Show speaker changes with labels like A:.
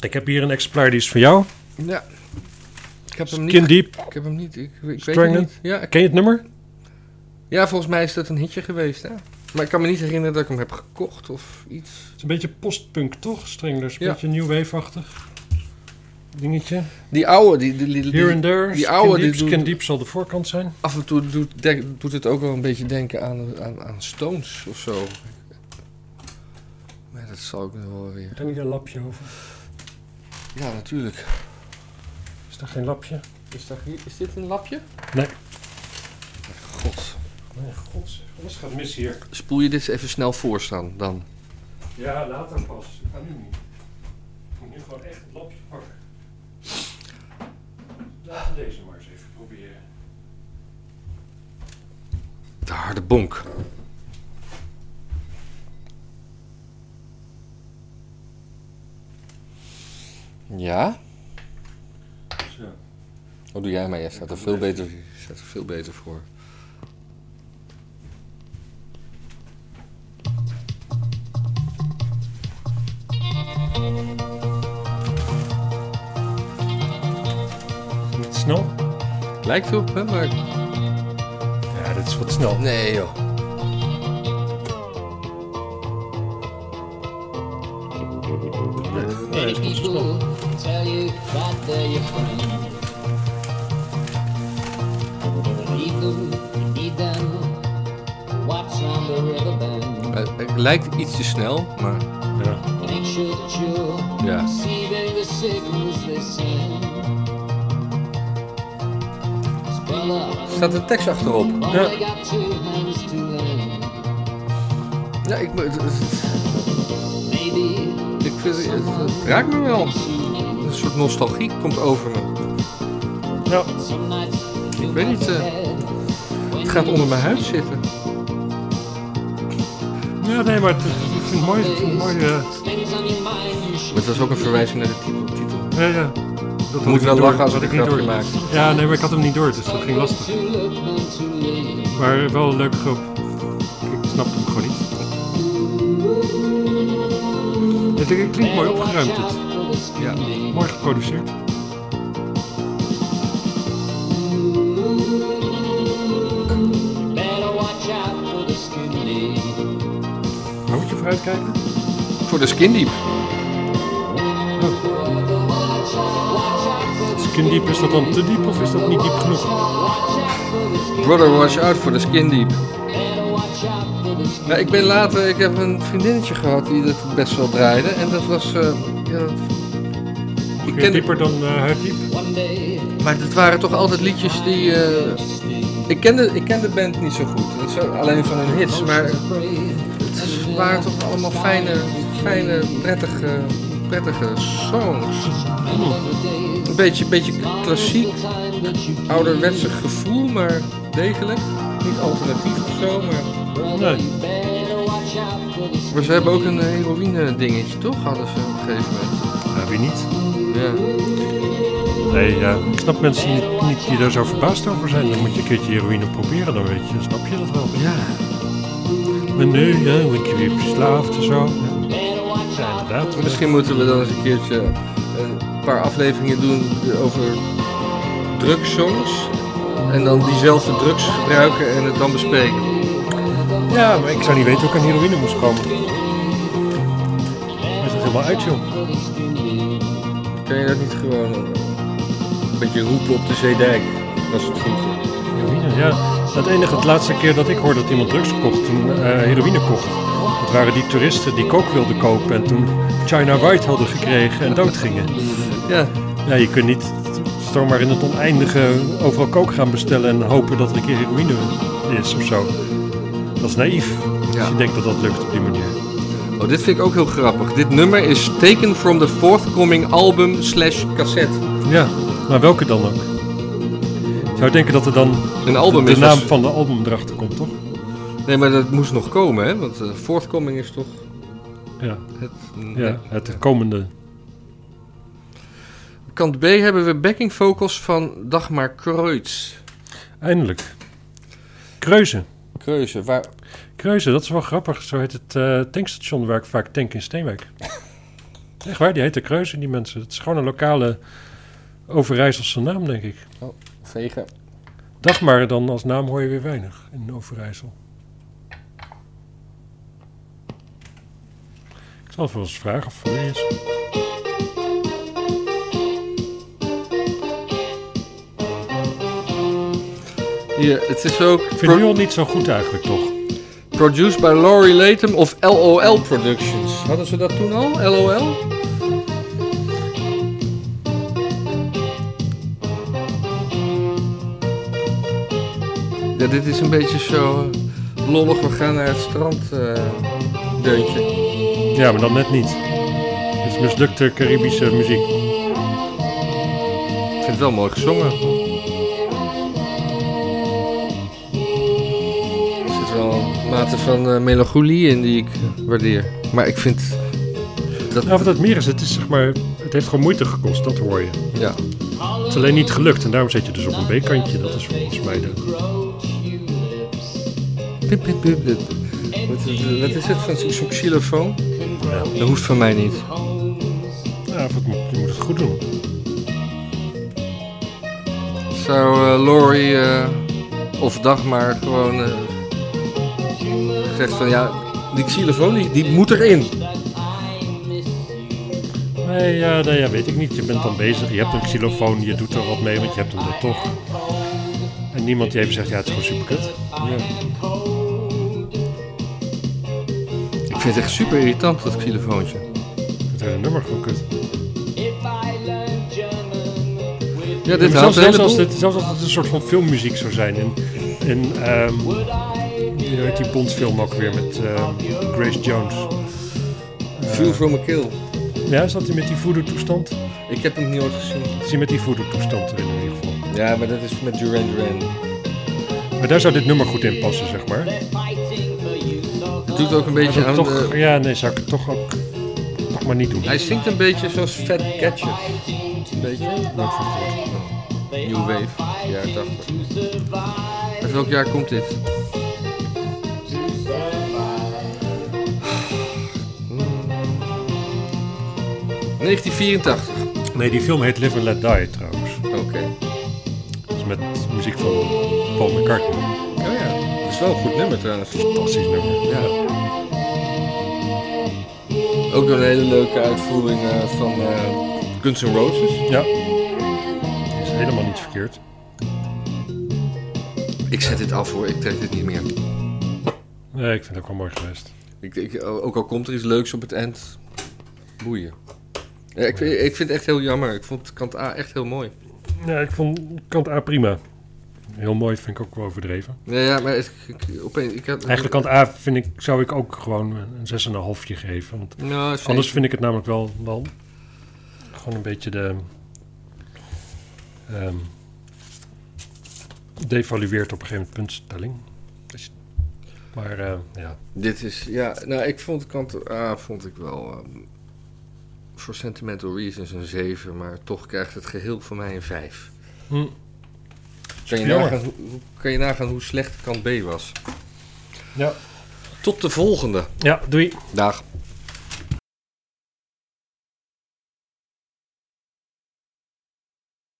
A: Ik heb hier een exemplaar, die is van jou.
B: Ja. Ik heb hem niet.
A: Skin Deep.
B: Ik heb hem niet. Ik, ik weet het
A: Strangled?
B: niet. Ja, ik-
A: Ken je het nummer?
B: ja, volgens mij is dat een hitje geweest. Hè? Maar ik kan me niet herinneren dat ik hem heb gekocht of iets.
A: Het is een beetje postpunk, toch? Stranglers. Een
B: Ja.
A: beetje new wave-achtig dingetje.
B: Die oude, die, die, die- die-
A: Here and there.
B: die oude,
A: Skin
B: die
A: Deep,
B: doet-
A: Skin Deep zal de voorkant zijn.
B: af en toe doet, dek- doet het ook wel een beetje denken aan, aan, aan Stones of zo. Maar dat zal ik nog wel weer.
A: Ik heb hier een lapje over.
B: Ja, natuurlijk.
A: Is daar geen lapje?
B: Is, dat hier- is dit een lapje?
A: Nee.
B: God.
A: Mijn god, alles gaat mis hier.
B: Spoel je dit eens even snel voorstaan dan.
A: Ja, later pas. Ik ga nu niet. Ik moet nu gewoon echt het lapje pakken. Laten we deze maar eens even proberen.
B: De harde bonk. Ja?
A: Zo.
B: Wat doe jij maar? Jij staat er veel beter, je staat er veel beter voor.
A: Niet snel?
B: Lijkt erop, hè, maar...
A: Ja, dit is wat snel.
B: Nee, joh.
A: Nee, dat is niet zo snel.
C: tell you that they're your friend. Read them, read them, watch on the riverbend.
B: Het, het Eh, lijkt iets te snel, maar...
A: Ja.
C: Make sure that you're
B: Ja.
C: receiving the signals they send. Spell
B: Er
C: out
B: staat een tekst achterop.
A: Ja.
C: all they got two hands to lend.
B: Ja, ik, het, het-
C: Maybe
B: ik vind, het, het raakt me wel. Een soort nostalgie komt over me.
A: Ja.
C: some nights you
B: weet niet, eh, Het gaat onder mijn huid zitten.
A: ja, nee, maar het, ik vind het mooi. Ik vind het mooi eh,
C: Things on your mind you should
B: Maar het was ook een verwijzing naar de titel. titel.
A: ja, ja. Dat had
B: Moet
A: ik
B: wel
A: niet
B: lachen als
A: dat
B: ik een
A: niet
B: grapje
A: door-
B: maak.
A: Ja, nee, maar ik had hem niet door, dus dat ging lastig.
C: to look and to live.
A: Maar wel een leuke grap. Ik snapte hem gewoon niet. Het het klinkt mooi opgeruimd. dit.
B: Ja.
A: Mooi geproduceerd.
C: Better watch out for the skinny.
A: Maar moet je vooruitkijken?
B: Voor de skin deep.
A: Skin deep, is dat dan te diep of is dat niet diep genoeg?
B: Brother, watch out voor de skin deep.
C: Better watch out for the skinny.
B: Nou, ik ben later, ik heb een vriendinnetje gehad die dat best wel draaide. En dat was, eh, ja, dat-
A: Weer
B: ik kende,
A: dieper dan eh huiddiep?
C: One day,
B: maar dat waren toch altijd liedjes die, eh, ik kende, ik ken de band niet zo goed. Het zijn alleen van hun hits, maar
C: brave.
B: het waren toch allemaal fijne, fijne, prettige, prettige songs. Een beetje, beetje klassiek,
C: Time that you
B: ouderwetse gevoel, maar degelijk. Niet alternatief of zo, maar...
A: Nee.
C: better watch out for the skinny.
B: Maar ze hebben ook een heroïne dingetje, toch? Hadden ze op een gegeven moment.
A: Ja, wie niet?
B: Ja.
A: Nee, ja. Ik snap mensen niet, niet die daar zo verbaasd over zijn. Dan moet je een keertje heroïne proberen, dan weet je. Snap je dat wel?
B: Ja.
A: Maar nu, ja, word je weer verslaafd en zo.
C: Better watch
A: Ja,
C: out.
A: inderdaad.
B: Misschien moeten we dan eens een keertje een paar afleveringen doen over drugssongs. En dan diezelfde drugs gebruiken en het dan bespreken.
A: Ja, maar ik zou niet weten hoe ik aan heroïne moest komen. Hij is er helemaal uit, joh.
B: Kan je dat niet gewoon eh, een beetje roepen op de zeedijk? Als het goed is.
A: Heroïne, ja. Het enige, het laatste keer dat ik hoorde dat iemand drugs kocht, toen eh, heroïne kocht. Het waren die toeristen die kook wilden kopen en toen China White hadden gekregen en doodgingen.
B: Ja.
A: Ja, je kunt niet zomaar in het oneindige overal kook gaan bestellen en hopen dat er een keer heroïne is of zo. Dat is naïef.
B: Ja.
A: Als je denkt dat dat lukt op die manier.
B: Oh, dit vind ik ook heel grappig. Dit nummer is taken from the forthcoming album slash cassette.
A: Ja, maar welke dan ook? Je zou denken dat er dan
B: Een album
A: de
B: is...
A: naam
B: dus-
A: van de album erachter komt, toch?
B: Nee, maar dat moest nog komen, hè? Want eh forthcoming is toch...
A: Ja,
B: Het,
A: ja het komende.
B: Kant B hebben we backing vocals van Dagmar Kreutz.
A: Eindelijk. Kreuzen.
B: Kreuze, waar...
A: Kreuzen, dat is wel grappig. Zo heet het eh, tankstation waar ik vaak tank in Steenwijk. Echt waar, die heet de Kruisen, die mensen. Het is gewoon een lokale Overijsselse naam, denk ik.
B: Vega.
A: Dag maar, dan als naam hoor je weer weinig in Overijssel. Ik zal het wel eens vragen of er is.
B: Hier, het is ook
A: Ik vind
B: pro-
A: nu al niet zo goed eigenlijk, toch?
B: produced by Laurie Latham of LOL Productions. Hadden ze dat toen al? LOL? Ja, dit is een beetje zo eh, lollig, we gaan naar het strand eh deuntje.
A: Ja, maar dan net niet. Het is mislukte Caribische muziek.
B: Ik vind het wel mooi gezongen. Er zit wel een mate van eh, melancholie in die ik eh, waardeer. Maar ik vind dat...
A: Nou, wat het meer is, het, is zeg maar, het heeft gewoon moeite gekost, dat hoor je.
B: Ja.
A: Het is alleen niet gelukt en daarom zit je dus op een B-kantje. Dat is volgens mij de...
B: Pip, pip, pip, dit. Wat, is- wat is het van zo'n zo'n xylofoon? Dat hoeft van mij niet.
A: Ja, of het moet, je moet het goed doen.
B: Zou eh, Laurie eh, of Dagmar gewoon eh, gezegd van ja, die xylofoon die, die moet erin.
A: Nee, ja, nee, ja, weet ik niet. Je bent dan bezig, je hebt een xylofoon, je doet er wat mee, want je hebt hem er toch. En niemand die even zegt, ja, het is gewoon superkut.
B: Ik vind het echt super irritant dat xylofoontje.
A: Het hele nummer gewoon kut.
B: Ja,
A: Ja,
B: dit
A: maar zelfs,
B: houdt een
A: zelfs, als
B: heleboel.
A: dit, zelfs als het een soort van filmmuziek zou zijn. In, in ehm hoe heet die Bondfilm ook weer met ehm, Grace Jones.
B: View from a kill.
A: Ja, zat hij met die voodoo-toestand?
B: Ik heb hem niet ooit gezien.
A: Zit hij met die voodoo-toestand erin in ieder geval.
B: Ja, maar dat is met Duran Duran.
A: Maar daar zou dit nummer goed in passen, zeg maar.
B: Het doet ook een
A: Maar
B: beetje
A: dan
B: aan
A: toch,
B: de...
A: Ja, nee, zou ik het toch ook toch maar niet doen.
B: Hij zingt een beetje zoals Fat Catches. Een beetje.
A: Nooit van gehoord.
B: New Wave, jaren 80. Uit welk jaar komt dit? ...1984.
A: Nee, die film heet Live and Let Die trouwens.
B: Oké.
A: Dat is met muziek van Paul McCartney.
B: Oh ja, dat is wel een goed nummer trouwens.
A: Fantastisch nummer.
B: Ja. Ook een hele leuke uitvoering eh, van eh Guns N' Roses.
A: Ja. Is helemaal niet verkeerd.
B: Ik zet dit af hoor, ik trek dit niet meer.
A: Nee, ik vind het ook wel mooi geweest.
B: Ik, ik, ook al komt er iets leuks op het eind, boeien. Ja, ik, vind- ik vind het echt heel jammer. Ik vond kant A echt heel mooi.
A: Ja, ik vond kant A prima. Heel mooi, vind ik ook wel overdreven.
B: Ja, ja maar ik, ik, opeens... Ik had,
A: Eigenlijk kant A vind ik, zou ik ook gewoon een 6,5 geven. Want
B: Nou, zeker.
A: anders vind ik het namelijk wel, wel gewoon een beetje de... ehm devalueert op een gegeven moment puntstelling. Dus- Maar eh, ja,
B: Dit is... Ja, nou, ik vond kant A vond ik wel... ehm, voor sentimental reasons een 7, maar toch krijgt het geheel van mij een 5.
A: Hm.
B: Kan je,
A: Jammer.
B: nagaan, hoe- hoe- kan je nagaan hoe slecht kant B was?
A: Ja.
B: Tot de volgende.
A: Ja, doei.
B: Dag.